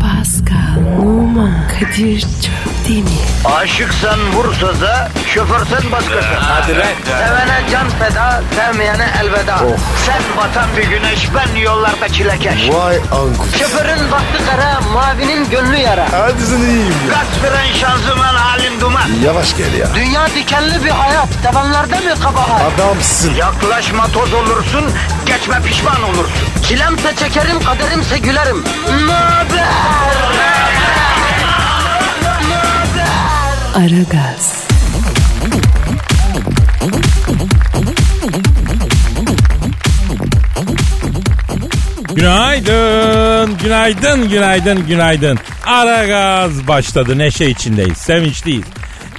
Pascal, Oman, Kadir çok değil mi? Aşıksan vursa da şoförsen başkasın. Hadi lan. Oh. Sevene can feda, sevmeyene elveda. Sen batan bir güneş, ben yollarda çilekeş. Vay anku. Şoförün baktı kara, mavinin gönlü yara. Hadi sen iyiyim ya. Kasperen şanzıman halin duman. Yavaş gel ya. Dünya dikenli bir hayat, sevenlerde mi kabahar? Adamsın. Yaklaşma toz olursun, geçme pişman olursun. Çilemse çekerim, kaderimse gülerim. Möber! Aragaz, Günaydın, günaydın, günaydın, günaydın. Ara gaz başladı, neşe içindeyiz, sevinçliyiz.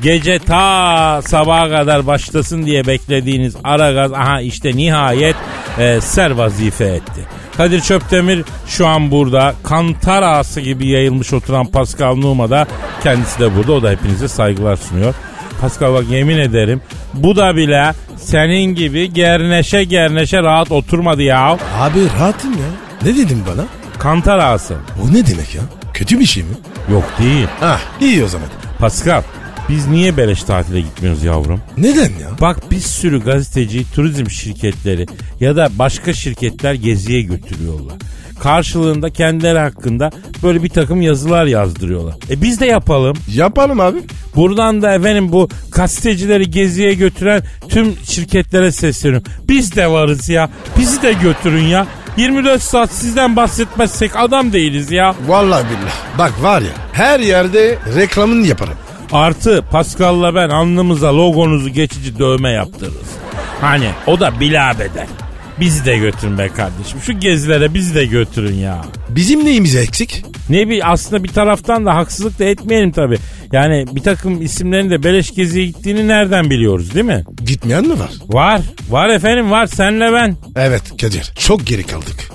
Gece ta sabaha kadar başlasın diye beklediğiniz ara gaz aha işte nihayet e, ser vazife etti. Kadir Çöptemir şu an burada. Kantar ağası gibi yayılmış oturan Pascal Numa da kendisi de burada. O da hepinize saygılar sunuyor. Pascal bak yemin ederim bu da bile senin gibi gerneşe gerneşe rahat oturmadı ya. Abi rahatım ya. Ne dedin bana? Kantar ağası. O ne demek ya? Kötü bir şey mi? Yok değil. Ah iyi o zaman. Pascal biz niye beleş tatile gitmiyoruz yavrum? Neden ya? Bak bir sürü gazeteci, turizm şirketleri ya da başka şirketler geziye götürüyorlar. Karşılığında kendileri hakkında böyle bir takım yazılar yazdırıyorlar. E biz de yapalım. Yapalım abi. Buradan da efendim bu gazetecileri geziye götüren tüm şirketlere sesleniyorum. Biz de varız ya. Bizi de götürün ya. 24 saat sizden bahsetmezsek adam değiliz ya. Vallahi billah. Bak var ya her yerde reklamını yaparım. Artı Pascal'la ben alnımıza logonuzu geçici dövme yaptırırız. Hani o da bila bedel. Bizi de götürün be kardeşim. Şu gezilere bizi de götürün ya. Bizim neyimiz eksik? Ne bir aslında bir taraftan da haksızlık da etmeyelim tabii. Yani bir takım isimlerin de beleş geziye gittiğini nereden biliyoruz değil mi? Gitmeyen mi var? Var. Var efendim var. Senle ben. Evet Kadir çok geri kaldık.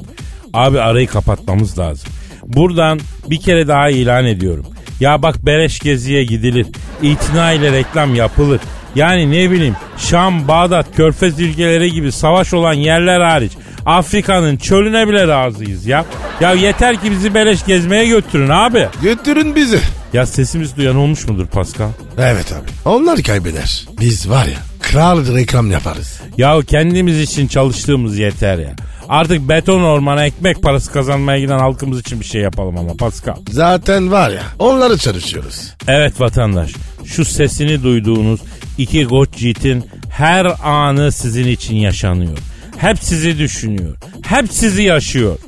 Abi arayı kapatmamız lazım. Buradan bir kere daha ilan ediyorum. Ya bak Bereş Gezi'ye gidilir. İtina ile reklam yapılır. Yani ne bileyim Şam, Bağdat, Körfez ülkeleri gibi savaş olan yerler hariç Afrika'nın çölüne bile razıyız ya. Ya yeter ki bizi beleş gezmeye götürün abi. Götürün bizi. Ya sesimiz duyan olmuş mudur Pascal? Evet abi. Onlar kaybeder. Biz var ya kral reklam yaparız. Ya kendimiz için çalıştığımız yeter ya. Artık beton ormana ekmek parası kazanmaya giden halkımız için bir şey yapalım ama Pascal. Zaten var ya onları çalışıyoruz. Evet vatandaş, şu sesini duyduğunuz iki goç yiğitin her anı sizin için yaşanıyor. Hep sizi düşünüyor. Hep sizi yaşıyor.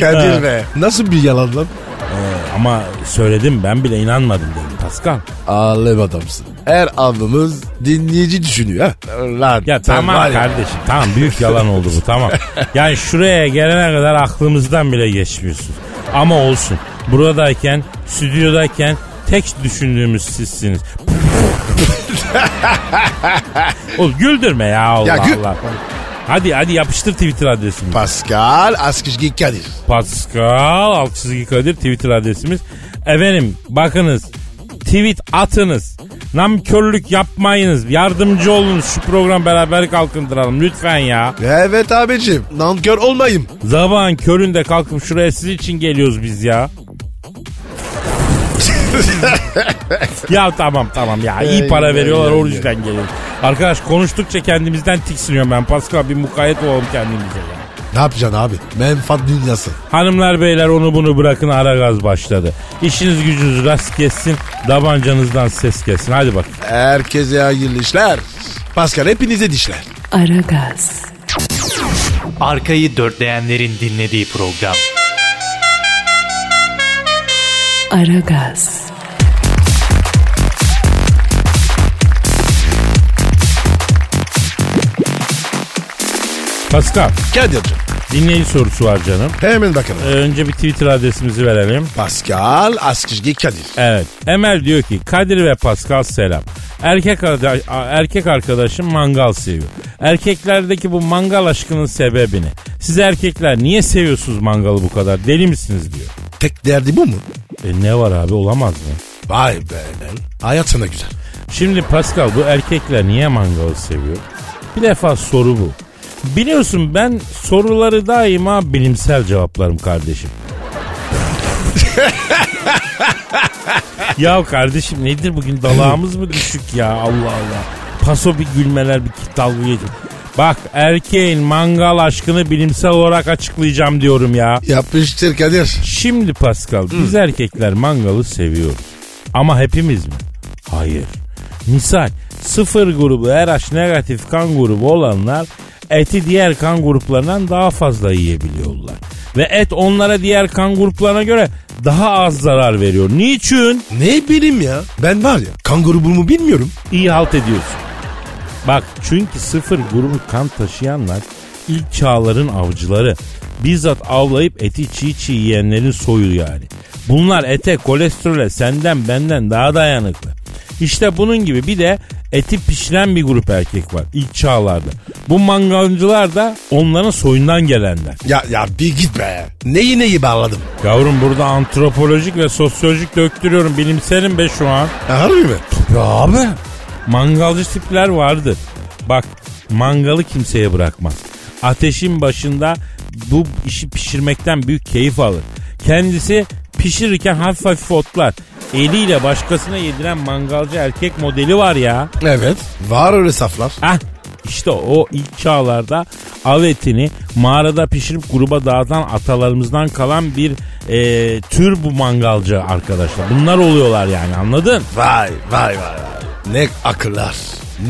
Kadir be. Nasıl bir yalan lan? Ama söyledim ben bile inanmadım dedim Pascal. Alev adamsın. Her anımız dinleyici düşünüyor ha. Lan Ya sen var tamam ya. kardeşim tamam büyük yalan oldu bu tamam. Yani şuraya gelene kadar aklımızdan bile geçmiyorsunuz. Ama olsun buradayken stüdyodayken tek düşündüğümüz sizsiniz. Oğlum güldürme ya Allah Ya gül- Allah. Hadi hadi yapıştır Twitter adresimi. Pascal Askışgi Kadir. Pascal alt çizgi Kadir Twitter adresimiz. Efendim bakınız tweet atınız. Namkörlük yapmayınız. Yardımcı olunuz. Şu program beraber kalkındıralım lütfen ya. Evet abicim. Nankör olmayayım. Zaman köründe kalkıp şuraya siz için geliyoruz biz ya. ya tamam tamam ya iyi para Ey, veriyorlar ey, o ey. yüzden geliyoruz. Arkadaş konuştukça kendimizden tiksiniyorum ben. Pascal bir mukayyet olalım kendimize ya. Ne yapacaksın abi? Menfaat dünyası. Hanımlar beyler onu bunu bırakın ara gaz başladı. İşiniz gücünüz rast kessin, davancanızdan ses kessin. Hadi bak. Herkese hayırlı işler. Pascal hepinize dişler. Aragaz, Arkayı dörtleyenlerin dinlediği program. Aragaz, Pascal, Kadir'cim. dinleyici sorusu var canım. Hemen bakalım. Ee, önce bir Twitter adresimizi verelim. Pascal Askışgi Kadir. Evet. Emel diyor ki Kadir ve Pascal selam. Erkek arda- a- erkek arkadaşım mangal seviyor. Erkeklerdeki bu mangal aşkının sebebini. Siz erkekler niye seviyorsunuz mangalı bu kadar? Deli misiniz diyor. Tek derdi bu mu? E ne var abi olamaz mı? Vay be. Hayat sana güzel. Şimdi Pascal bu erkekler niye mangalı seviyor? Bir defa soru bu. Biliyorsun ben soruları daima bilimsel cevaplarım kardeşim. ya kardeşim nedir bugün dalağımız mı düşük ya Allah Allah. Paso bir gülmeler bir kit dalga geçiyor. Bak erkeğin mangal aşkını bilimsel olarak açıklayacağım diyorum ya. Yapıştır Kadir. Şimdi Pascal biz erkekler mangalı seviyoruz. Ama hepimiz mi? Hayır. Misal sıfır grubu RH negatif kan grubu olanlar eti diğer kan gruplarından daha fazla yiyebiliyorlar. Ve et onlara diğer kan gruplarına göre daha az zarar veriyor. Niçin? Ne bileyim ya. Ben var ya kanguru burnu bilmiyorum. iyi halt ediyorsun. Bak çünkü sıfır grubu kan taşıyanlar ilk çağların avcıları. Bizzat avlayıp eti çiğ çiğ yiyenlerin soyu yani. Bunlar ete, kolesterole senden benden daha dayanıklı. İşte bunun gibi bir de eti pişiren bir grup erkek var ilk çağlarda. Bu mangalcılar da onların soyundan gelenler. Ya ya bir git be. Neyi neyi bağladım? Yavrum burada antropolojik ve sosyolojik döktürüyorum bilimselim be şu an. Ha, Harbi mi? Ya abi. Mangalcı tipler vardı. Bak mangalı kimseye bırakmaz. Ateşin başında bu işi pişirmekten büyük keyif alır. Kendisi pişirirken hafif hafif otlar. Eliyle başkasına yediren mangalcı erkek modeli var ya. Evet. Var öyle saflar. Hah işte o ilk çağlarda av etini mağarada pişirip gruba dağıtan atalarımızdan kalan bir e, tür bu mangalcı arkadaşlar. Bunlar oluyorlar yani anladın? Vay vay vay. vay. Ne akıllar.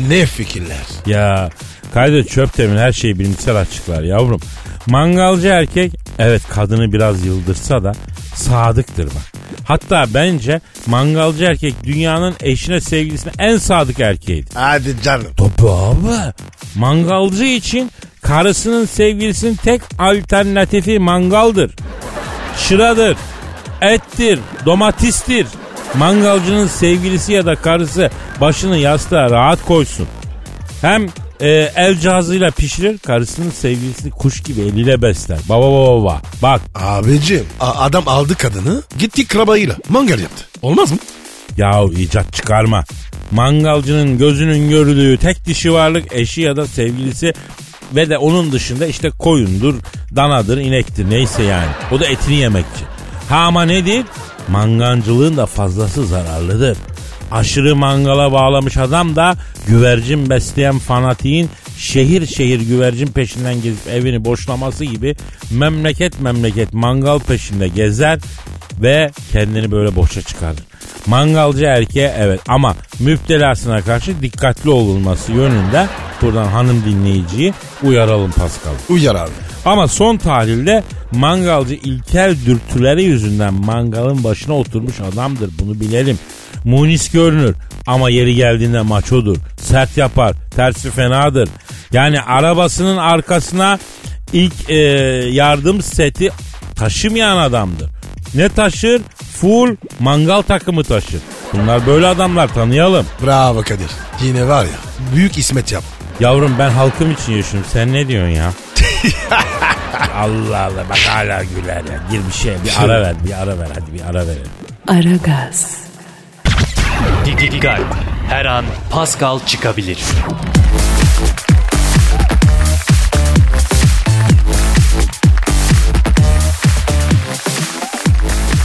Ne fikirler. Ya Kadir Çöptemir her şeyi bilimsel açıklar yavrum. Mangalcı erkek evet kadını biraz yıldırsa da sadıktır bak. Hatta bence mangalcı erkek dünyanın eşine sevgilisine en sadık erkeğidir. Hadi canım. Tabii abi. Mangalcı için karısının sevgilisinin tek alternatifi mangaldır. Çıradır, ettir, domatistir. Mangalcının sevgilisi ya da karısı başını yastığa rahat koysun. Hem e, el cihazıyla pişirir, karısının sevgilisini kuş gibi eliyle besler. Baba baba baba. Bak Abicim a- adam aldı kadını gitti krabayıyla mangal yaptı. Olmaz mı? Yahu icat çıkarma. Mangalcının gözünün görüldüğü tek dişi varlık eşi ya da sevgilisi ve de onun dışında işte koyundur, danadır, inektir neyse yani. O da etini yemekçi. Ha ama nedir? Mangancılığın da fazlası zararlıdır. Aşırı mangala bağlamış adam da güvercin besleyen fanatiğin şehir şehir güvercin peşinden gezip evini boşlaması gibi memleket memleket mangal peşinde gezer ve kendini böyle boşa çıkarır. Mangalcı erkeğe evet ama müptelasına karşı dikkatli olunması yönünde buradan hanım dinleyiciyi uyaralım Pascal. Uyar abi. Ama son tahlilde mangalcı ilkel dürtüleri yüzünden mangalın başına oturmuş adamdır bunu bilelim. Munis görünür ama yeri geldiğinde maçodur. Sert yapar, tersi fenadır. Yani arabasının arkasına ilk e, yardım seti taşımayan adamdır. Ne taşır? Full mangal takımı taşır. Bunlar böyle adamlar tanıyalım. Bravo Kadir. Yine var ya büyük ismet yap. Yavrum ben halkım için yaşıyorum. Sen ne diyorsun ya? Allah Allah bak hala güler ya. Gir bir şey bir ara ver bir ara ver hadi bir ara ver. Aragaz, Didi Digal. Her an Pascal çıkabilir.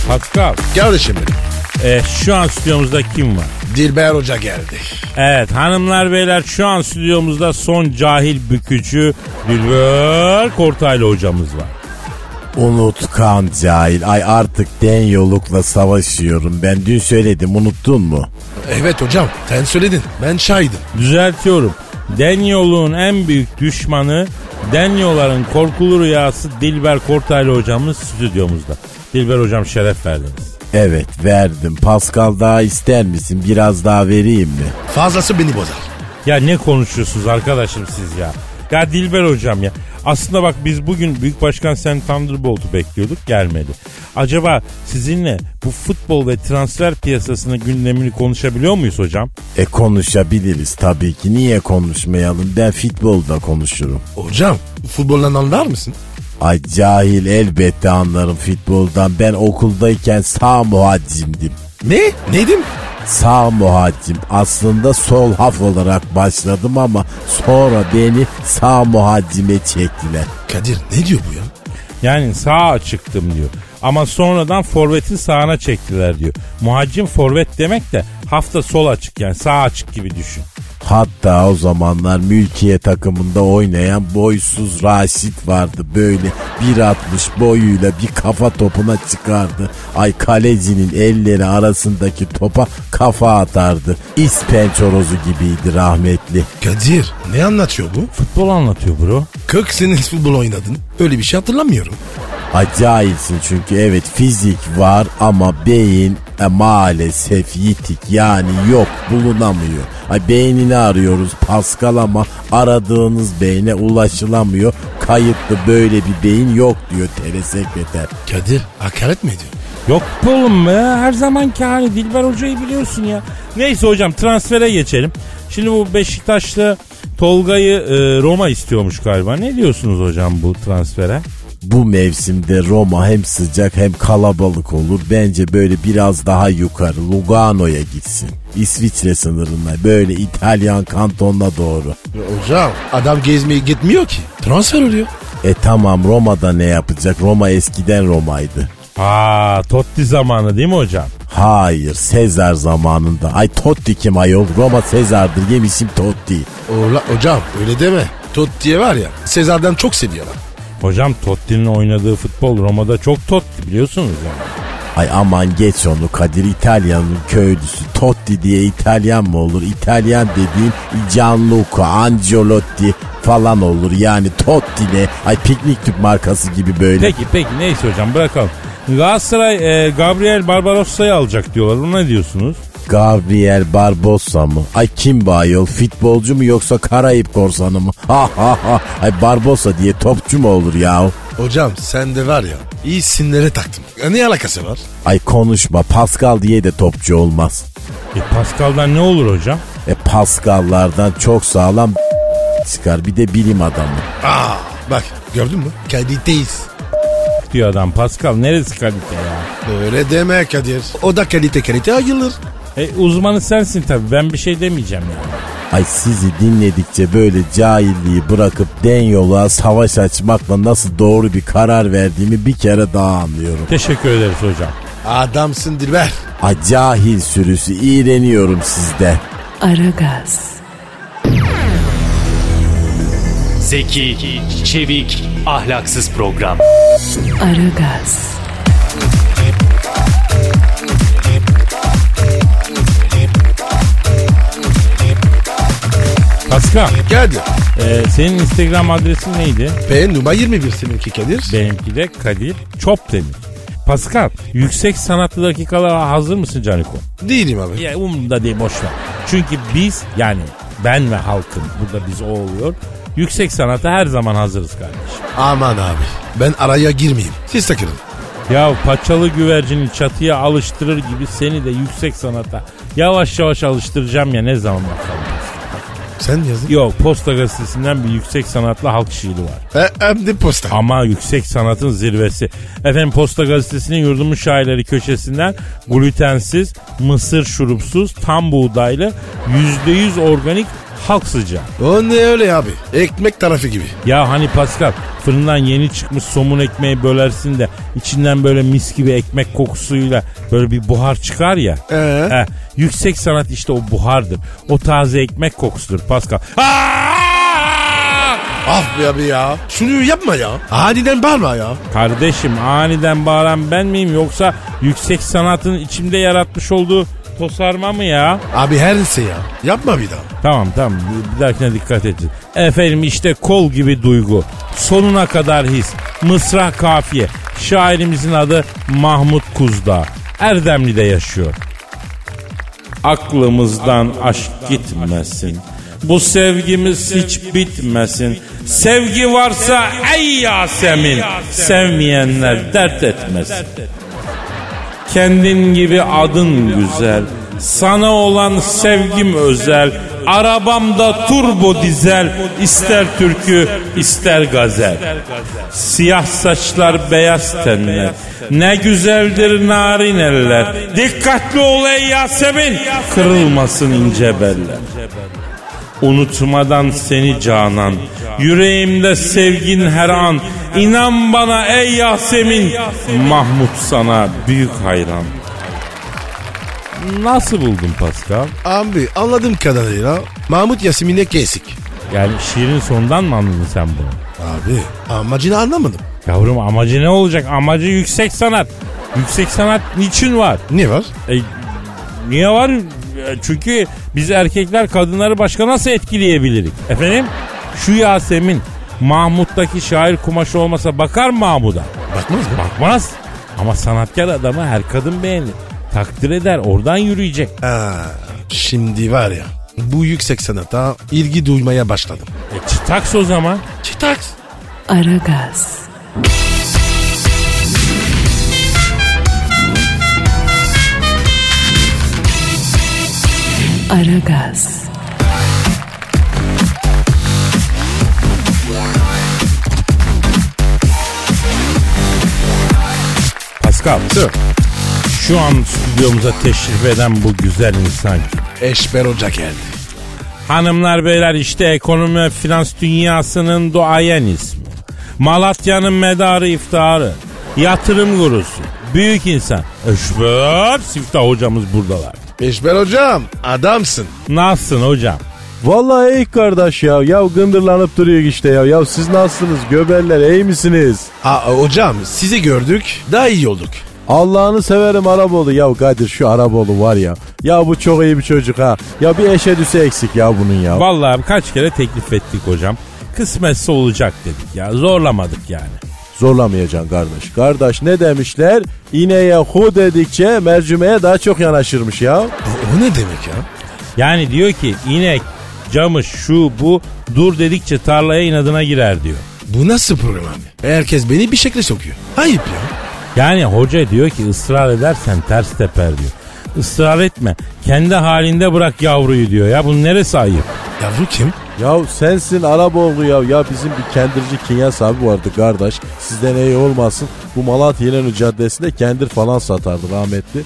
Pascal Kardeşim benim. e, şu an stüdyomuzda kim var? Dilber Hoca geldi. Evet hanımlar beyler şu an stüdyomuzda son cahil bükücü Dilber Kortaylı hocamız var. Unutkan cahil. Ay artık den yolukla savaşıyorum. Ben dün söyledim unuttun mu? Evet hocam sen söyledin ben şahidim. Düzeltiyorum. Denyoluğun en büyük düşmanı Denyoların korkulu rüyası Dilber Kortaylı hocamız stüdyomuzda. Dilber hocam şeref verdiniz. Evet verdim. Pascal daha ister misin? Biraz daha vereyim mi? Fazlası beni bozar. Ya ne konuşuyorsunuz arkadaşım siz ya? Ya Dilber hocam ya. Aslında bak biz bugün Büyük Başkan Sen Thunderbolt'u bekliyorduk gelmedi. Acaba sizinle bu futbol ve transfer piyasasının gündemini konuşabiliyor muyuz hocam? E konuşabiliriz tabii ki. Niye konuşmayalım? Ben futbolda konuşurum. Hocam futboldan anlar mısın? Ay cahil elbette anlarım futboldan. Ben okuldayken sağ muhaccimdim. Ne? Neydim? sağ muhacim. Aslında sol haf olarak başladım ama sonra beni sağ muhacime çektiler. Kadir ne diyor bu ya? Yani sağa çıktım diyor. Ama sonradan forvetin sağına çektiler diyor. Muhacim forvet demek de hafta sol açık yani sağ açık gibi düşün. Hatta o zamanlar mülkiye takımında oynayan boysuz Raşit vardı. Böyle 1.60 boyuyla bir kafa topuna çıkardı. Ay kalecinin elleri arasındaki topa kafa atardı. İspençorozu gibiydi rahmetli. Kadir ne anlatıyor bu? Futbol anlatıyor bro. 40 sene futbol oynadın. Öyle bir şey hatırlamıyorum. Acayipsin çünkü evet fizik var ama beyin e, maalesef yitik yani yok bulunamıyor. Ay beynini arıyoruz Pascal ama aradığınız beyne ulaşılamıyor. Kayıtlı böyle bir beyin yok diyor telesekreter. Kadir hakaret mi ediyor? Yok be oğlum be her zamanki hali Dilber Hoca'yı biliyorsun ya. Neyse hocam transfere geçelim. Şimdi bu Beşiktaşlı Tolga'yı e, Roma istiyormuş galiba. Ne diyorsunuz hocam bu transfere? Bu mevsimde Roma hem sıcak hem kalabalık olur. Bence böyle biraz daha yukarı Lugano'ya gitsin. İsviçre sınırına böyle İtalyan kantonuna doğru. Hocam adam gezmeye gitmiyor ki. Transfer oluyor. E tamam Roma'da ne yapacak? Roma eskiden Roma'ydı. Aa Totti zamanı değil mi hocam? Hayır Sezar zamanında. Ay Totti kim ayol? Roma Sezar'dır yemişim Totti. Ola, hocam öyle deme. Totti'ye var ya Sezar'dan çok seviyorlar. Hocam Totti'nin oynadığı futbol Roma'da çok Totti biliyorsunuz yani. Ay aman geç onu Kadir İtalyan'ın köylüsü. Totti diye İtalyan mı olur? İtalyan dediğin Gianluca, Ancelotti falan olur. Yani Totti ile ay piknik tüp markası gibi böyle. Peki peki neyse hocam bırakalım. Galatasaray e, Gabriel Barbarossa'yı alacak diyorlar. Ona ne diyorsunuz? Gabriel Barbosa mı? Ay kim bu ayol? Futbolcu mu yoksa Karayip korsanı mı? Ha ha ha. Ay Barbosa diye topçu mu olur yahu? Hocam sen de var ya iyi sinirlere taktın. Ya Ne alakası var? Ay konuşma Pascal diye de topçu olmaz. E Pascal'dan ne olur hocam? E Pascal'lardan çok sağlam çıkar bir de bilim adamı. Aa bak gördün mü? Kaliteyiz. Diyor adam Pascal neresi kalite ya? Öyle deme Kadir. O da kalite kalite ayılır. E uzmanı sensin tabii ben bir şey demeyeceğim yani. Ay sizi dinledikçe böyle cahilliği bırakıp den yola savaş açmakla nasıl doğru bir karar verdiğimi bir kere daha anlıyorum. Teşekkür ederiz hocam. Adamsın Dilber. Ay cahil sürüsü iğreniyorum sizde. Aragaz, Zeki, çevik, ahlaksız program. Aragaz, Pascal Kadir. e, senin Instagram adresin neydi? P numara 21 seninki Kadir. Benimki de Kadir Çopdemir. Pascal yüksek sanatlı dakikalara hazır mısın Caniko? Değilim abi. Ya umurumda değil boş ver. Çünkü biz yani ben ve halkım burada biz o oluyor. Yüksek sanata her zaman hazırız kardeşim. Aman abi. Ben araya girmeyeyim. Siz takılın. Ya paçalı güvercini çatıya alıştırır gibi seni de yüksek sanata yavaş yavaş alıştıracağım ya ne zaman bakalım. Sen yazın. Yok Posta Gazetesi'nden bir yüksek sanatla halk şiiri var. E, hem de posta. Ama yüksek sanatın zirvesi. Efendim Posta Gazetesi'nin yurdumun şairleri köşesinden glutensiz, mısır şurupsuz, tam buğdaylı, %100 organik halk sıcağı. O ne öyle abi? Ekmek tarafı gibi. Ya hani Pascal fırından yeni çıkmış somun ekmeği bölersin de içinden böyle mis gibi ekmek kokusuyla böyle bir buhar çıkar ya. Ee? Heh, yüksek sanat işte o buhardır. O taze ekmek kokusudur Pascal. Aa! Ah be abi ya. Şunu yapma ya. Aniden bağırma ya. Kardeşim aniden bağıran ben miyim yoksa yüksek sanatın içimde yaratmış olduğu tosarma mı ya? Abi her şey ya. Yapma bir daha. Tamam tamam bir- bir dahakine dikkat edeceğiz. Efendim işte kol gibi duygu. Sonuna kadar his. Mısra kafiye. Şairimizin adı Mahmut Kuzdağ. Erdemli'de yaşıyor. Aklımızdan aşk gitmesin. Bu sevgimiz hiç bitmesin. Sevgi varsa ey Yasemin. Sevmeyenler dert etmesin. Kendin gibi adın güzel. Sana olan sevgim özel. Arabamda turbo dizel ister türkü ister gazel. Siyah saçlar beyaz tenler. Ne güzeldir narin eller. Dikkatli ol ey Yasemin. Kırılmasın ince beller. Unutmadan seni canan Yüreğimde sevgin her an İnan bana ey Yasemin Mahmut sana büyük hayran Nasıl buldun Pascal? Abi anladığım kadarıyla Mahmut Yasemin'e kesik. Yani şiirin sonundan mı anladın sen bunu? Abi amacını anlamadım. Yavrum amacı ne olacak? Amacı yüksek sanat. Yüksek sanat niçin var? Ne var? E, niye var? E, Çünkü biz erkekler kadınları başka nasıl etkileyebiliriz? Efendim? Şu Yasemin Mahmut'taki şair kumaşı olmasa bakar mı Mahmud'a? Bakmaz mı? Bakmaz. Ama sanatkar adamı her kadın beğenir. Takdir eder oradan yürüyecek. Ha, şimdi var ya bu yüksek sanata ilgi duymaya başladım. E, çıtaks o zaman. Çıtaks. Aragaz, Aragaz, Pascal Sir. şu an stüdyomuza teşrif eden bu güzel insan kim? Eşber Hoca geldi. Hanımlar beyler işte ekonomi ve finans dünyasının duayen ismi. Malatya'nın medarı iftiharı. Yatırım gurusu. Büyük insan. Eşber Siftah hocamız buradalar. Eşber Hocam adamsın. Nasılsın hocam? Vallahi ey kardeş ya. Ya gındırlanıp duruyor işte ya. Ya siz nasılsınız göberler iyi misiniz? Aa, hocam sizi gördük daha iyi olduk. Allah'ını severim Araboğlu. Ya Kadir şu Araboğlu var ya. Ya bu çok iyi bir çocuk ha. Ya bir eşe düşse eksik ya bunun ya. Vallahi kaç kere teklif ettik hocam. Kısmetse olacak dedik ya. Zorlamadık yani. Zorlamayacaksın kardeş. Kardeş ne demişler? İneğe hu dedikçe mercimeğe daha çok yanaşırmış ya. O, o ne demek ya? Yani diyor ki inek, camış, şu bu dur dedikçe tarlaya inadına girer diyor. Bu nasıl program abi? Herkes beni bir şekle sokuyor. Ayıp ya. Yani hoca diyor ki ısrar edersen ters teper diyor. Israr etme. Kendi halinde bırak yavruyu diyor. Ya bunun neresi ayıp? Yavru kim? Ya sensin Araboğlu ya. Ya bizim bir kendirici Kinyas abi vardı kardeş. Sizden iyi olmasın. Bu Malatya İnönü Caddesi'nde kendir falan satardı rahmetli.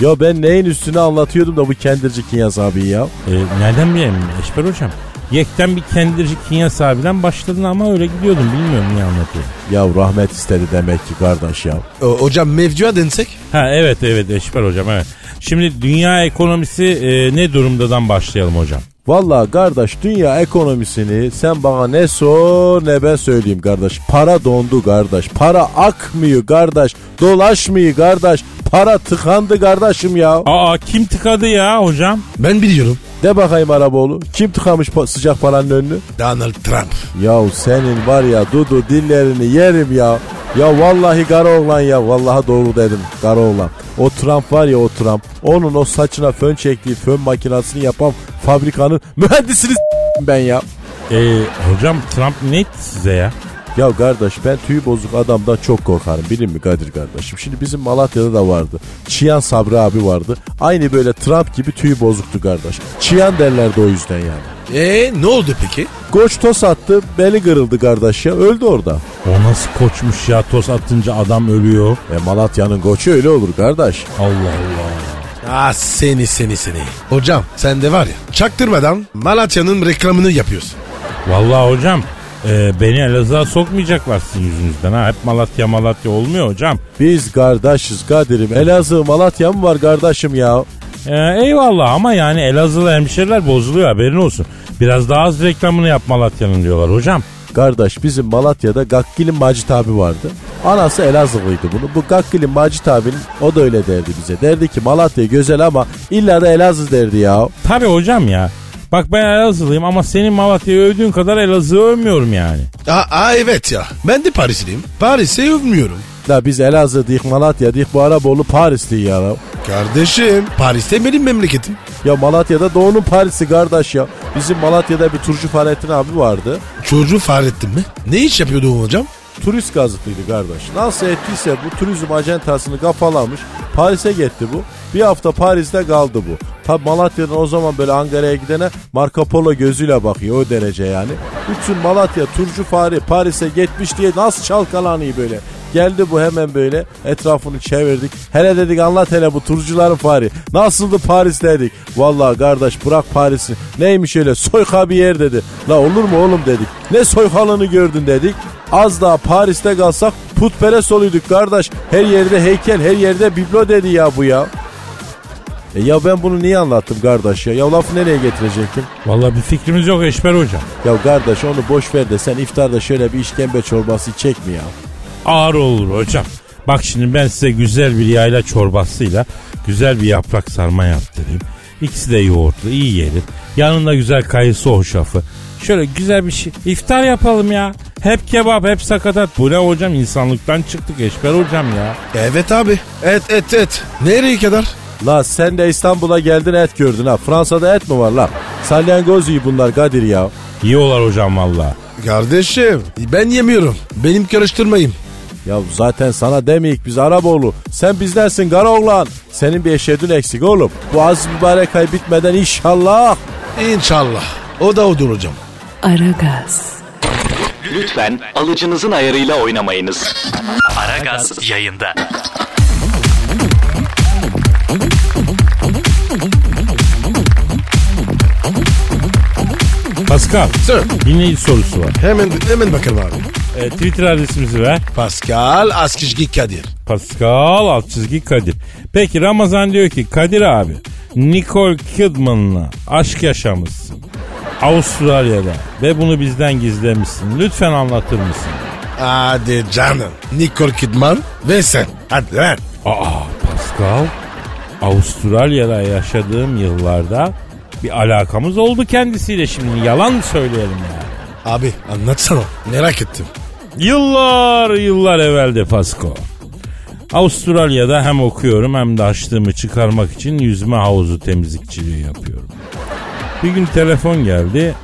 Ya ben neyin üstüne anlatıyordum da bu kendirci Kinyas abi ya. Ee, nereden bileyim Eşber hocam? Yekten bir kendirci Kinyas abiden başladın ama öyle gidiyordun. Bilmiyorum niye anlatıyorum. Ya rahmet istedi demek ki kardeş ya. O, hocam mevcuya densek? Ha evet evet Eşber hocam evet. Şimdi dünya ekonomisi e, ne durumdadan başlayalım hocam? Vallahi kardeş dünya ekonomisini sen bana ne sor ne ben söyleyeyim kardeş. Para dondu kardeş. Para akmıyor kardeş. Dolaşmıyor kardeş. Para tıkandı kardeşim ya. Aa kim tıkadı ya hocam? Ben biliyorum. De bakayım Araboğlu. Kim tıkamış pa- sıcak paranın önünü? Donald Trump. Ya senin var ya dudu dillerini yerim ya. Ya vallahi kara oğlan ya. Vallahi doğru dedim kara oğlan. O Trump var ya o Trump. Onun o saçına fön çektiği fön makinasını yapan fabrikanın mühendisini s- ben ya. Ee, hocam Trump ne etti size ya? Ya kardeş ben tüy bozuk adamdan çok korkarım bilin mi Kadir kardeşim? Şimdi bizim Malatya'da da vardı. Çiyan Sabri abi vardı. Aynı böyle Trump gibi tüy bozuktu kardeş. Çiyan derlerdi o yüzden yani. E ne oldu peki? Koç toz attı beli kırıldı kardeş ya öldü orada. O nasıl koçmuş ya toz attınca adam ölüyor. E Malatya'nın koçu öyle olur kardeş. Allah Allah. Ah seni seni seni. Hocam sen de var ya çaktırmadan Malatya'nın reklamını yapıyorsun. Vallahi hocam e, beni Elazığ'a sokmayacaklar sizin yüzünüzden ha. Hep Malatya Malatya olmuyor hocam. Biz kardeşiz Kadir'im. Elazığ Malatya mı var kardeşim ya? E, eyvallah ama yani Elazığlı hemşeriler bozuluyor haberin olsun. Biraz daha az reklamını yap Malatya'nın diyorlar hocam. Kardeş bizim Malatya'da Gakkil'in Macit abi vardı. Anası Elazığlıydı bunu. Bu Gakkil'in Macit abinin o da öyle derdi bize. Derdi ki Malatya güzel ama illa da Elazığ derdi ya. Tabi hocam ya. Bak ben Elazığlıyım ama senin Malatya'yı övdüğün kadar Elazığ'ı övmüyorum yani. Aa, aa evet ya ben de Parisliyim. Paris'i övmüyorum. Da biz Elazığ dik Malatya dik bu Araboğlu Paris'ti ya. Kardeşim Paris'te benim memleketim. Ya Malatya'da Doğu'nun Paris'i kardeş ya. Bizim Malatya'da bir turcu Fahrettin abi vardı. Çocuğu Fahrettin mi? Ne iş yapıyordu o hocam? turist gazıklıydı kardeş. Nasıl ettiyse bu turizm ajantasını kafalamış. Paris'e gitti bu. Bir hafta Paris'te kaldı bu. Tabi Malatya'dan o zaman böyle Ankara'ya gidene Marco Polo gözüyle bakıyor o derece yani. Bütün Malatya turcu fare Paris'e gitmiş diye nasıl çalkalanıyor böyle. Geldi bu hemen böyle etrafını çevirdik. Hele dedik anlat hele bu turcuların fari. Nasıldı Paris dedik. Vallahi kardeş bırak Paris'i. Neymiş öyle soyka bir yer dedi. La olur mu oğlum dedik. Ne soykalını gördün dedik. Az daha Paris'te kalsak putperest oluyorduk kardeş. Her yerde heykel her yerde biblo dedi ya bu ya. E ya ben bunu niye anlattım kardeş ya? Ya lafı nereye getirecektim? Vallahi bir fikrimiz yok Eşber hocam. Ya kardeş onu boş ver de sen iftarda şöyle bir işkembe çorbası çek mi ya? Ağır olur hocam. Bak şimdi ben size güzel bir yayla çorbasıyla güzel bir yaprak sarma yaptırayım. İkisi de yoğurtlu iyi gelir. Yanında güzel kayısı hoşafı. Şöyle güzel bir şey. iftar yapalım ya. Hep kebap hep sakatat. Bu ne hocam insanlıktan çıktık Eşber hocam ya. Evet abi. Et et et. Nereye kadar? La sen de İstanbul'a geldin et gördün ha. Fransa'da et mi var la? Salyangoz iyi bunlar Kadir ya. Yiyorlar hocam valla. Kardeşim ben yemiyorum. Benim karıştırmayın. Ya zaten sana demeyik biz Araboğlu. Sen bizdensin kara oğlan. Senin bir eşedün eksik oğlum. Bu az mübarek ay bitmeden inşallah. İnşallah. O da odur hocam. Aragaz, Lütfen alıcınızın ayarıyla oynamayınız. Aragaz yayında. Pascal Sir. dinleyici sorusu var. Hemen hemen bakalım abi. E, Twitter adresimizi ver. Pascal Askizgi Kadir. Pascal alt çizgi Kadir. Peki Ramazan diyor ki Kadir abi Nicole Kidman'la aşk yaşamışsın. Avustralya'da ve bunu bizden gizlemişsin. Lütfen anlatır mısın? Hadi canım. Nicole Kidman ve sen. Hadi lan. Aa Pascal Avustralya'da yaşadığım yıllarda bir alakamız oldu kendisiyle şimdi yalan mı söyleyelim ya? Abi anlatsana. Merak ettim. Yıllar yıllar evvelde Pasko. Avustralya'da hem okuyorum hem de açlığımı çıkarmak için yüzme havuzu temizlikçiliği yapıyorum. Bir gün telefon geldi.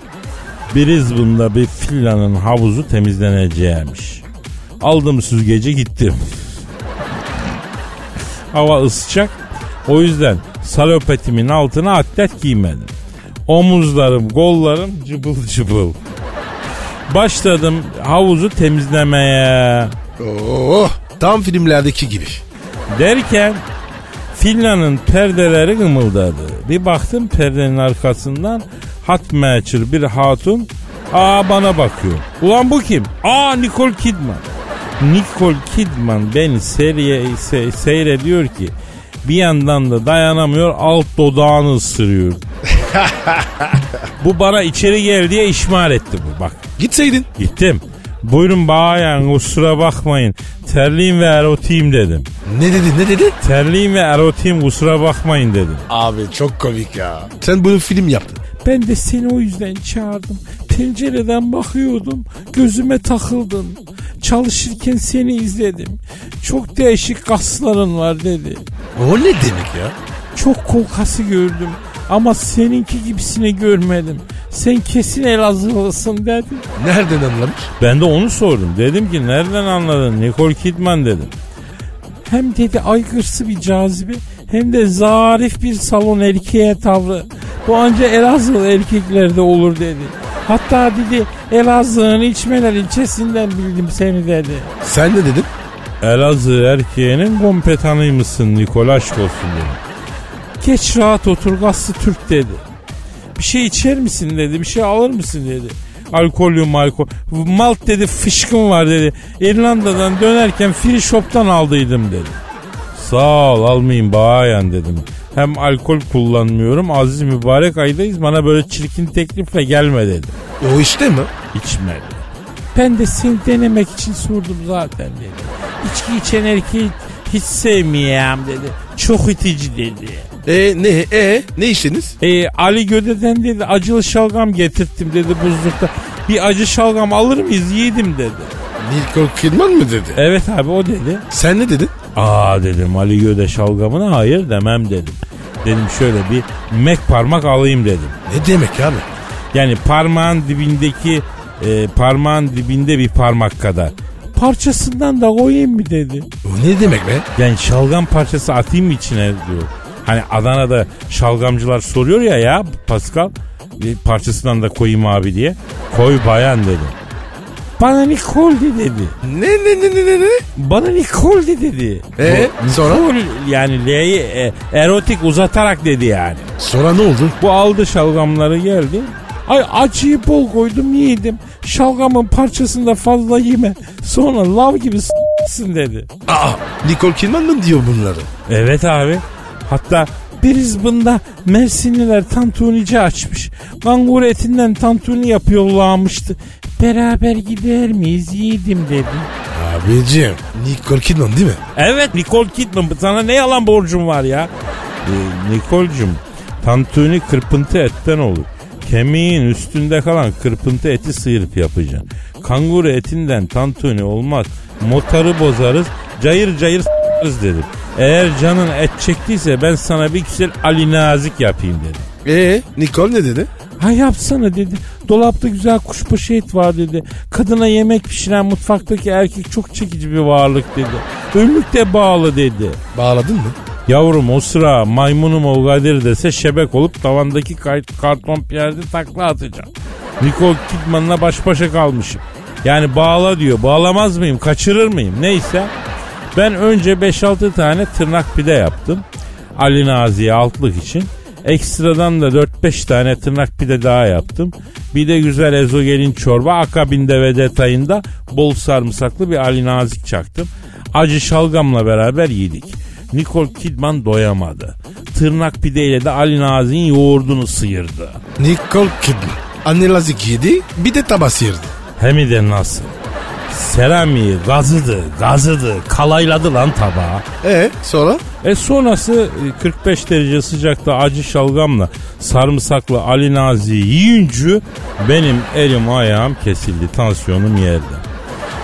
Brisbane'da bir villanın havuzu temizleneceğiymiş. Aldım süzgeci gittim. Hava ısıtacak. O yüzden salopetimin altına atlet giymedim. Omuzlarım, kollarım cıbıl cıbıl. Başladım havuzu temizlemeye. Oo, tam filmlerdeki gibi. Derken Finlan'ın perdeleri kımıldadı. Bir baktım perdenin arkasından hat meçhul bir hatun aa bana bakıyor. Ulan bu kim? Aa Nicole Kidman. Nicole Kidman beni seriye, se- seyrediyor ki bir yandan da dayanamıyor alt dodağını ısırıyor. bu bana içeri gel diye işmar etti bu bak. Gitseydin. Gittim. Buyurun bayan kusura bakmayın. Terliyim ve erotiyim dedim. Ne dedi ne dedi? Terliyim ve erotiyim kusura bakmayın dedim. Abi çok komik ya. Sen bunu film yaptın. Ben de seni o yüzden çağırdım. Pencereden bakıyordum. Gözüme takıldın. Çalışırken seni izledim. Çok değişik kasların var dedi. O ne demek ya? Çok kol kası gördüm. Ama seninki gibisini görmedim. Sen kesin Elazığlısın dedi. Nereden anlamış? Ben de onu sordum. Dedim ki nereden anladın Nicole Kidman dedim. Hem dedi aygırsı bir cazibe hem de zarif bir salon erkeğe tavrı. Bu anca Elazığlı erkeklerde olur dedi. Hatta dedi Elazığ'ın içmeler ilçesinden bildim seni dedi. Sen ne dedin? Elazığ erkeğinin kompetanıymışsın Nikol aşk olsun dedi. Geç rahat otur gazlı Türk dedi. Bir şey içer misin dedi bir şey alır mısın dedi. Alkollü malkol. Malt dedi fışkın var dedi. İrlanda'dan dönerken free shop'tan aldıydım dedi. Sağ ol almayayım bayan dedim. Hem alkol kullanmıyorum aziz mübarek aydayız bana böyle çirkin teklifle gelme dedi. O işte mi? İçmedi. Ben de seni denemek için sordum zaten dedi. İçki içen erkeği hiç sevmiyorum dedi. Çok itici dedi. E ne e ne işiniz? E, Ali Göde'den dedi acılı şalgam getirttim dedi buzlukta. Bir acı şalgam alır mıyız yiğidim dedi. Nicole Kidman mı dedi? Evet abi o dedi. Sen ne dedin? Aa dedim Ali Göde şalgamına hayır demem dedim. Dedim şöyle bir mek parmak alayım dedim. Ne demek abi? Yani parmağın dibindeki e, parmağın dibinde bir parmak kadar. Parçasından da koyayım mı dedi. O ne demek be? Yani şalgam parçası atayım mı içine diyor. Hani Adana'da şalgamcılar soruyor ya ya Pascal bir parçasından da koyayım abi diye. Koy bayan dedi. Bana Nikoldi dedi. Ne ne ne ne ne ne? Bana Nikoldi dedi. Ee, Bu- sonra? Nikol yani L'yi e, erotik uzatarak dedi yani. Sonra ne oldu? Bu aldı şalgamları geldi. Ay acıyı bol koydum yedim. Şalgamın parçasını da fazla yeme. Sonra lav gibi s**sin dedi. Aa, Nicole Kidman mı diyor bunları? Evet abi. Hatta Brisbane'da Mersinliler tantunici açmış. Kangur etinden tantuni yapıyorlarmıştı. Beraber gider miyiz yiğidim dedi. Abicim, Nicole Kidman değil mi? Evet Nicole Kidman sana ne yalan borcum var ya. Ee, Nicole'cum tantuni kırpıntı etten olur. Kemiğin üstünde kalan kırpıntı eti sıyırıp yapacaksın. Kanguru etinden tantuni olmaz. Motarı bozarız, cayır cayır s**arız dedim. Eğer canın et çektiyse ben sana bir güzel Ali Nazik yapayım dedim. Ee, Nicole ne dedi? Ha yapsana dedi. Dolapta güzel kuşbaşı et var dedi. Kadına yemek pişiren mutfaktaki erkek çok çekici bir varlık dedi. Önlük de bağlı dedi. Bağladın mı? Yavrum o sıra maymunum o Kadir dese şebek olup tavandaki kay- karton piyerde takla atacağım. Nicole Kidman'la baş başa kalmışım. Yani bağla diyor. Bağlamaz mıyım? Kaçırır mıyım? Neyse. Ben önce 5-6 tane tırnak pide yaptım. Ali Nazi'ye altlık için. Ekstradan da 4-5 tane tırnak pide daha yaptım. Bir de güzel ezogelin çorba akabinde ve detayında bol sarımsaklı bir Ali Nazik çaktım. Acı şalgamla beraber yedik. Nicole Kidman doyamadı. Tırnak pideyle de Ali Nazik'in yoğurdunu sıyırdı. Nicole Kidman. Anne lazik yedi, bir de tabas yırdı. Hem de nasıl? Seramiği gazıdı, gazıdı, kalayladı lan tabağı. Ee, sonra? E sonrası e, 45 derece sıcakta acı şalgamla sarımsaklı Ali Nazi yiyince benim elim ayağım kesildi. Tansiyonum yerde.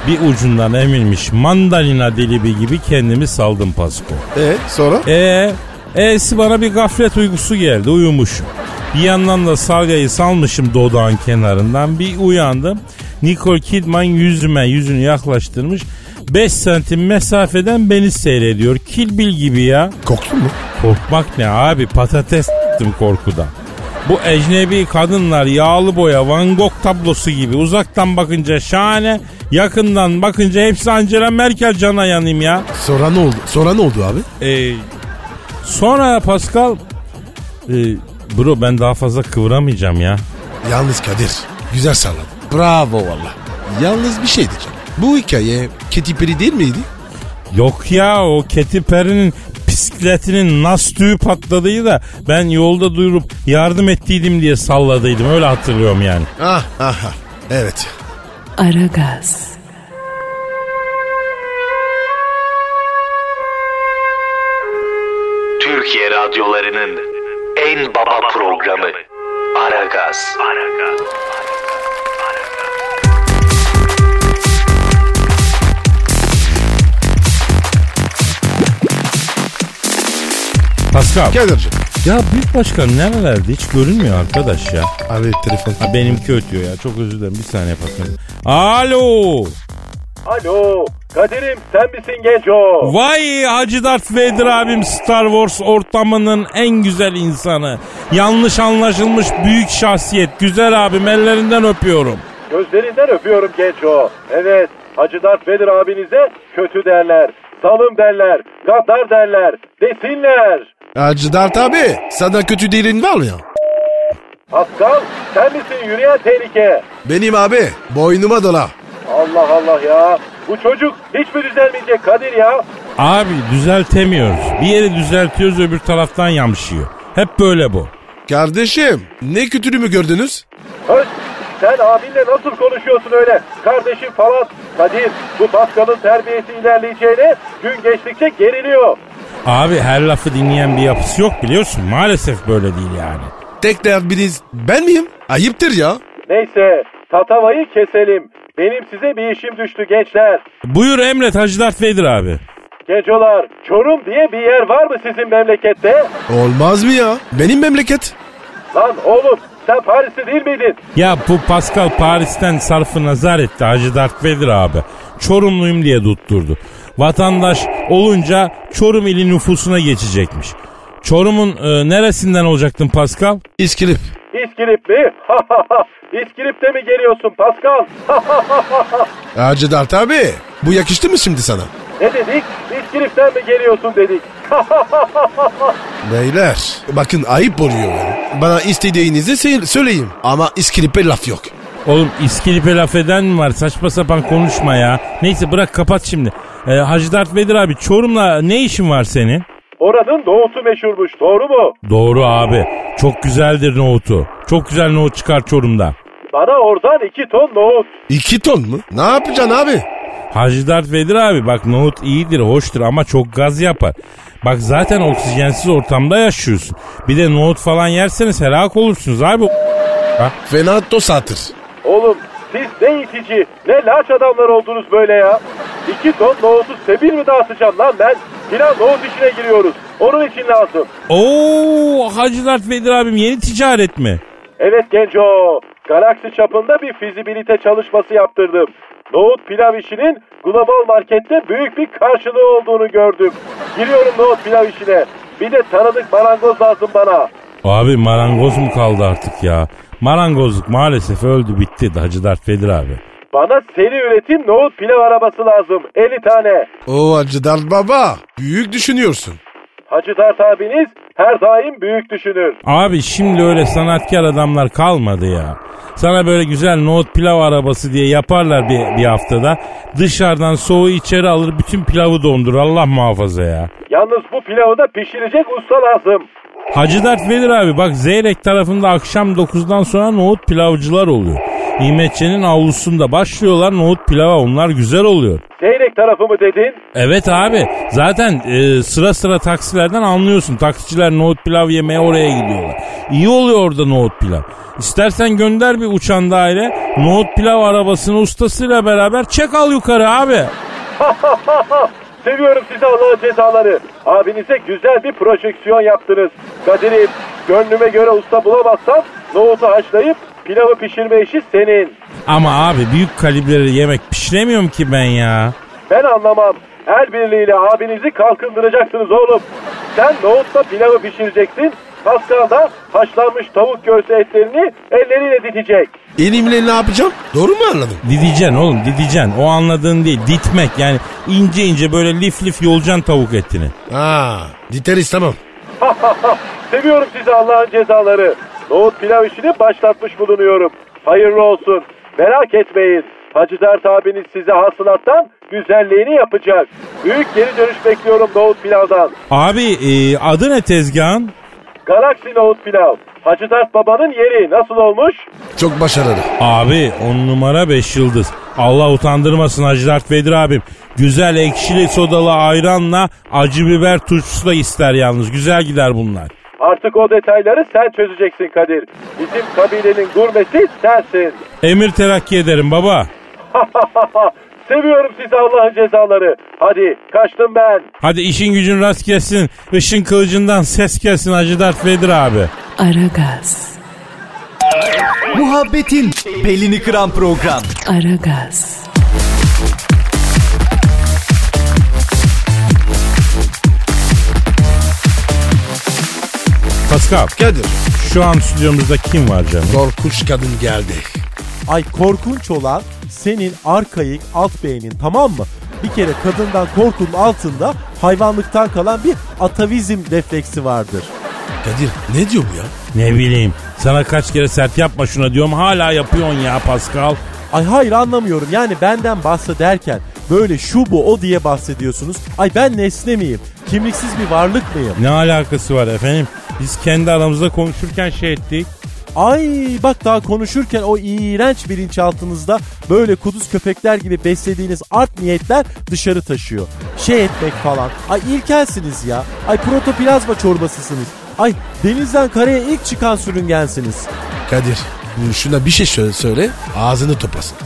Bir ucundan emilmiş mandalina dilibi gibi kendimi saldım Pasko. Ee, sonra? E e'si bana bir gaflet uykusu geldi uyumuşum. Bir yandan da salgayı salmışım dodağın kenarından bir uyandım. Nicole Kidman yüzüme yüzünü yaklaştırmış. 5 santim mesafeden beni seyrediyor. Kilbil gibi ya. Koktun E, mu? Korkmak ne abi patates s**tim korkudan. Bu ecnebi kadınlar yağlı boya Van Gogh tablosu gibi uzaktan bakınca şahane yakından bakınca hepsi Angela Merkel cana yanayım ya. Sonra ne oldu? Sonra ne oldu abi? Ee, sonra Pascal e, bro ben daha fazla kıvıramayacağım ya. Yalnız Kadir, güzel salladın. Bravo valla. Yalnız bir şey diyeceğim. Bu hikaye Katy Perry değil miydi? Yok ya o Katy Perry'nin bisikletinin nas tüyü patladığı da ben yolda duyurup yardım ettiydim diye salladıydım öyle hatırlıyorum yani. Ah, ah, ah. Evet. Aragaz, Türkiye radyolarının en baba programı Aragaz. Pascal Kadir'cim. ya büyük başkan nerelerde hiç görünmüyor arkadaş ya. Abi telefon. Ha, benimki ötüyor ya çok özür dilerim bir saniye Pascal. Alo Alo Kadir'im sen misin Genco? Vay Hacı Darth Vader abim Star Wars ortamının en güzel insanı. Yanlış anlaşılmış büyük şahsiyet. Güzel abim ellerinden öpüyorum. Gözlerinden öpüyorum Genco. Evet Hacı Dert Vedir abinize kötü derler. Salım derler. Gaddar derler. Desinler. Hacı Dert abi, sana kötü dilin var ya. Pascal sen misin yürüyen tehlike? Benim abi, boynuma dola. Allah Allah ya. Bu çocuk hiç mi düzelmeyecek Kadir ya? Abi düzeltemiyoruz. Bir yeri düzeltiyoruz öbür taraftan yamşıyor. Hep böyle bu. Kardeşim, ne kötülüğümü gördünüz? Öz sen abinle nasıl konuşuyorsun öyle? Kardeşim falan. Kadir bu Pascal'ın terbiyesi ilerleyeceğine gün geçtikçe geriliyor. Abi her lafı dinleyen bir yapısı yok biliyorsun. Maalesef böyle değil yani. Tekrar biriz. Ben miyim? Ayıptır ya. Neyse tatavayı keselim. Benim size bir işim düştü gençler. Buyur Emret Hacı Darth Vader abi. Gencolar Çorum diye bir yer var mı sizin memlekette? Olmaz mı ya? Benim memleket. Lan oğlum sen Paris'te değil miydin? Ya bu Pascal Paris'ten sarfı nazar etti Hacı Darth Vader abi. Çorumluyum diye tutturdu. Vatandaş olunca Çorum ili nüfusuna geçecekmiş. Çorum'un e, neresinden olacaktın Pascal? İskilip. İskilip mi? İskilip'te mi geliyorsun Pascal? Hacı Dert abi bu yakıştı mı şimdi sana? ne dedik? İskilip'ten mi geliyorsun dedik. Beyler bakın ayıp oluyor. yani. Bana istediğinizi se- söyleyin. Ama İskilip'e laf yok. Oğlum İskilip'e laf eden mi var? Saçma sapan konuşma ya. Neyse bırak kapat şimdi. E, Hacı Dert Vedir abi Çorum'la ne işin var senin? Oranın doğusu meşhurmuş doğru mu? Doğru abi. Çok güzeldir nohutu. Çok güzel nohut çıkar Çorum'da. Bana oradan iki ton nohut. İki ton mu? Ne yapacaksın abi? Hacı Dert Vedir abi bak nohut iyidir, hoştur ama çok gaz yapar. Bak zaten oksijensiz ortamda yaşıyorsun. Bir de nohut falan yerseniz helak olursunuz abi. Fena toz atır. Oğlum siz ne itici ne laç adamlar oldunuz böyle ya. İki ton nohutu sebil mi dağıtacağım lan ben? Filan nohut işine giriyoruz. Onun için lazım. Oo Hacı Dert Vedir abim yeni ticaret mi? Evet Genco. Galaksi çapında bir fizibilite çalışması yaptırdım. Nohut pilav işinin global markette büyük bir karşılığı olduğunu gördüm. Giriyorum nohut pilav işine. Bir de tanıdık marangoz lazım bana. Abi marangoz mu kaldı artık ya? Marangozluk maalesef öldü bitti Hacı Dert Vedir abi. Bana seri üretim nohut pilav arabası lazım. 50 tane. O Hacı Dert baba büyük düşünüyorsun. Hacı Dert abiniz her daim büyük düşünür. Abi şimdi öyle sanatkar adamlar kalmadı ya. Sana böyle güzel nohut pilav arabası diye yaparlar bir, bir haftada. Dışarıdan soğuğu içeri alır bütün pilavı dondurur Allah muhafaza ya. Yalnız bu pilavı da pişirecek usta lazım. Hacı Dert Vedir abi bak Zeyrek tarafında akşam 9'dan sonra nohut pilavcılar oluyor. İmetçe'nin avlusunda başlıyorlar nohut pilava onlar güzel oluyor. Zeyrek tarafı mı dedin? Evet abi zaten e, sıra sıra taksilerden anlıyorsun. Taksiciler nohut pilav yemeye oraya gidiyorlar. İyi oluyor orada nohut pilav. İstersen gönder bir uçan daire. Nohut pilav arabasını ustasıyla beraber çek al yukarı abi. Seviyorum sizi Allah'ın cezaları. Abinize güzel bir projeksiyon yaptınız. Kadir'im gönlüme göre usta bulamazsam nohutu haşlayıp pilavı pişirme işi senin. Ama abi büyük kalibreli yemek pişiremiyorum ki ben ya. Ben anlamam. El birliğiyle abinizi kalkındıracaksınız oğlum. Sen nohutla pilavı pişireceksin. Pascal da haşlanmış tavuk göğsü etlerini elleriyle ditecek. Elimle ne yapacağım? Doğru mu anladım? Didicen oğlum didicen. O anladığın değil. Ditmek yani ince ince böyle lif lif yolcan tavuk etini. Ha, diteriz tamam. Seviyorum sizi Allah'ın cezaları. Nohut pilav işini başlatmış bulunuyorum. Hayırlı olsun. Merak etmeyin. Hacı Dert abiniz size hasılattan güzelliğini yapacak. Büyük geri dönüş bekliyorum nohut pilavdan. Abi e, adı ne tezgahın? Galaksi nohut pilav. Hacı Dert babanın yeri nasıl olmuş? Çok başarılı. Abi on numara beş yıldız. Allah utandırmasın Hacı Dert Vedir abim. Güzel ekşili sodalı ayranla acı biber turşusu da ister yalnız. Güzel gider bunlar. Artık o detayları sen çözeceksin Kadir. Bizim kabilenin gurmesi sensin. Emir terakki ederim baba. Seviyorum sizi Allah'ın cezaları. Hadi kaçtım ben. Hadi işin gücün rast gelsin. Işın kılıcından ses gelsin Hacı Dert Vedir abi. Aragaz, Muhabbetin belini kıran program. Aragaz, Pascal Kadir, şu an stüdyomuzda kim var canım? korkunç kadın geldi. Ay korkunç olan senin arkaik alt beynin tamam mı? Bir kere kadından korkunun altında hayvanlıktan kalan bir atavizm refleksi vardır. Kadir, ne diyor bu ya? Ne bileyim sana kaç kere sert yapma şuna diyorum hala yapıyorsun ya Pascal. Ay hayır anlamıyorum yani benden bahsederken böyle şu bu o diye bahsediyorsunuz. Ay ben nesne miyim? Kimliksiz bir varlık mıyım? Ne alakası var efendim? Biz kendi aramızda konuşurken şey ettik. Ay bak daha konuşurken o iğrenç bilinçaltınızda böyle kuduz köpekler gibi beslediğiniz art niyetler dışarı taşıyor. Şey etmek falan. Ay ilkelsiniz ya. Ay protoplazma çorbasısınız. Ay denizden karaya ilk çıkan sürüngensiniz. Kadir, bu şuna bir şey söyle, söyle ağzını toplasın.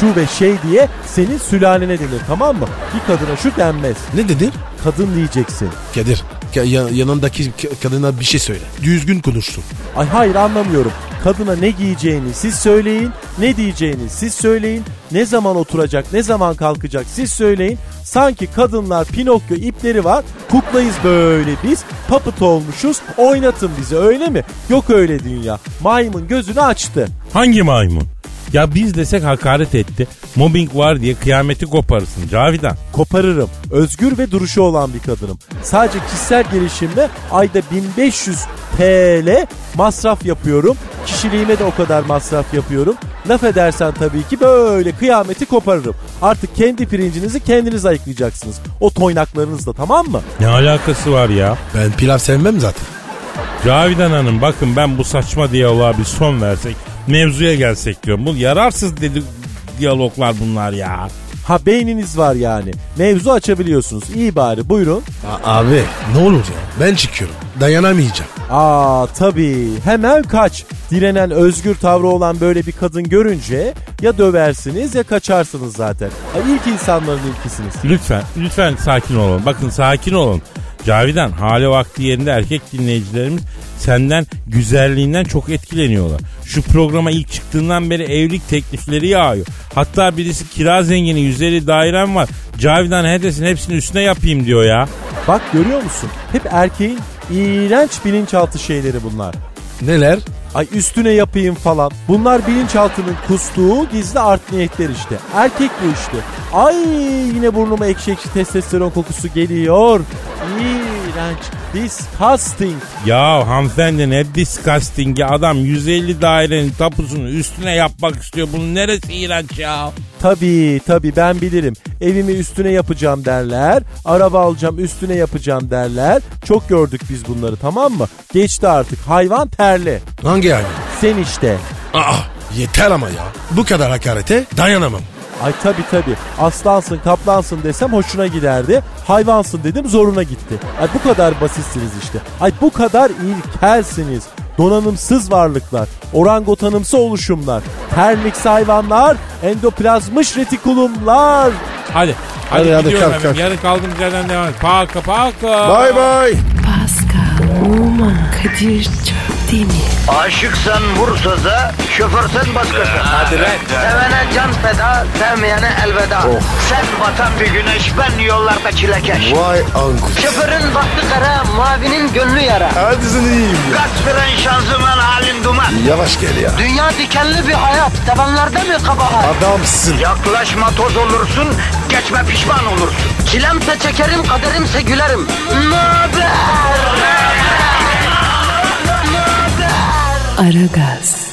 Şu ve şey diye senin sülalene denir tamam mı? Bir kadına şu denmez. Ne dedin? Kadın diyeceksin. Kadir, Ka- ya- yanındaki k- kadına bir şey söyle. Düzgün konuşsun. Ay hayır anlamıyorum. Kadına ne giyeceğini siz söyleyin, ne diyeceğini siz söyleyin, ne zaman oturacak, ne zaman kalkacak siz söyleyin. Sanki kadınlar Pinokyo ipleri var, kuklayız böyle biz, papıt olmuşuz, oynatın bizi öyle mi? Yok öyle dünya. Maymun gözünü açtı. Hangi maymun? Ya biz desek hakaret etti. Mobbing var diye kıyameti koparırsın Cavidan. Koparırım. Özgür ve duruşu olan bir kadınım. Sadece kişisel gelişimle ayda 1500 TL masraf yapıyorum. Kişiliğime de o kadar masraf yapıyorum. Laf edersen tabii ki böyle kıyameti koparırım. Artık kendi pirincinizi kendiniz ayıklayacaksınız. O toynaklarınızla tamam mı? Ne alakası var ya? Ben pilav sevmem zaten. Cavidan Hanım bakın ben bu saçma diyaloğa bir son versek mevzuya gelsek diyorum. Bu yararsız dedi diyaloglar bunlar ya. Ha beyniniz var yani. Mevzu açabiliyorsunuz. İyi bari buyurun. A- abi ne olur ya ben çıkıyorum. Dayanamayacağım. Aa tabii hemen kaç. Direnen özgür tavrı olan böyle bir kadın görünce ya döversiniz ya kaçarsınız zaten. Ay, ilk insanların ilkisiniz. Lütfen lütfen sakin olun. Bakın sakin olun. Cavidan hali vakti yerinde erkek dinleyicilerimiz senden güzelliğinden çok etkileniyorlar. Şu programa ilk çıktığından beri evlilik teklifleri yağıyor. Hatta birisi kira zengini 150 dairem var. Cavidan hedesin hepsini üstüne yapayım diyor ya. Bak görüyor musun? Hep erkeğin iğrenç bilinçaltı şeyleri bunlar. Neler? Ay üstüne yapayım falan. Bunlar bilinçaltının kustuğu gizli art niyetler işte. Erkek bu işte. Ay yine burnuma ekşi ekşi testosteron kokusu geliyor. İğrenç. Disgusting. Ya hanımefendi ne disgusting'i adam 150 dairenin tapusunu üstüne yapmak istiyor. Bunun neresi iğrenç ya? Tabii tabii ben bilirim. Evimi üstüne yapacağım derler. Araba alacağım üstüne yapacağım derler. Çok gördük biz bunları tamam mı? Geçti artık hayvan terli. Hangi yani? Sen işte. Aa yeter ama ya. Bu kadar hakarete dayanamam. Ay tabii tabii aslansın kaplansın desem hoşuna giderdi. Hayvansın dedim zoruna gitti. Ay bu kadar basitsiniz işte. Ay bu kadar ilkelsiniz. Donanımsız varlıklar, orangotanımsı oluşumlar, termiksi hayvanlar, endoplazmış retikulumlar. Hadi. Hadi, Hadi, hadi, gidiyorum kalk, efendim. kalk. Yarın kaldığımız yerden devam et. Paka paka. bay. Pascal, Oman, Kadir çok değil mi? Aşıksan vursa da, şoförsen başkasın. Hadi lan. Sevene can feda, sevmeyene elveda. Sen batan bir güneş, ben yollarda çilekeş. Vay anku. Şoförün baktı kara, mavinin gönlü yara. Hadi sen iyiyim ya. Kasperen şanzıman halin duman. Yavaş gel ya. Dünya dikenli bir hayat, sevenlerde mi kabahar? Adamsın. Yaklaşma toz olursun, geçme pişman olursun. Çilemse çekerim, kaderimse gülerim. Möber! Aragaz.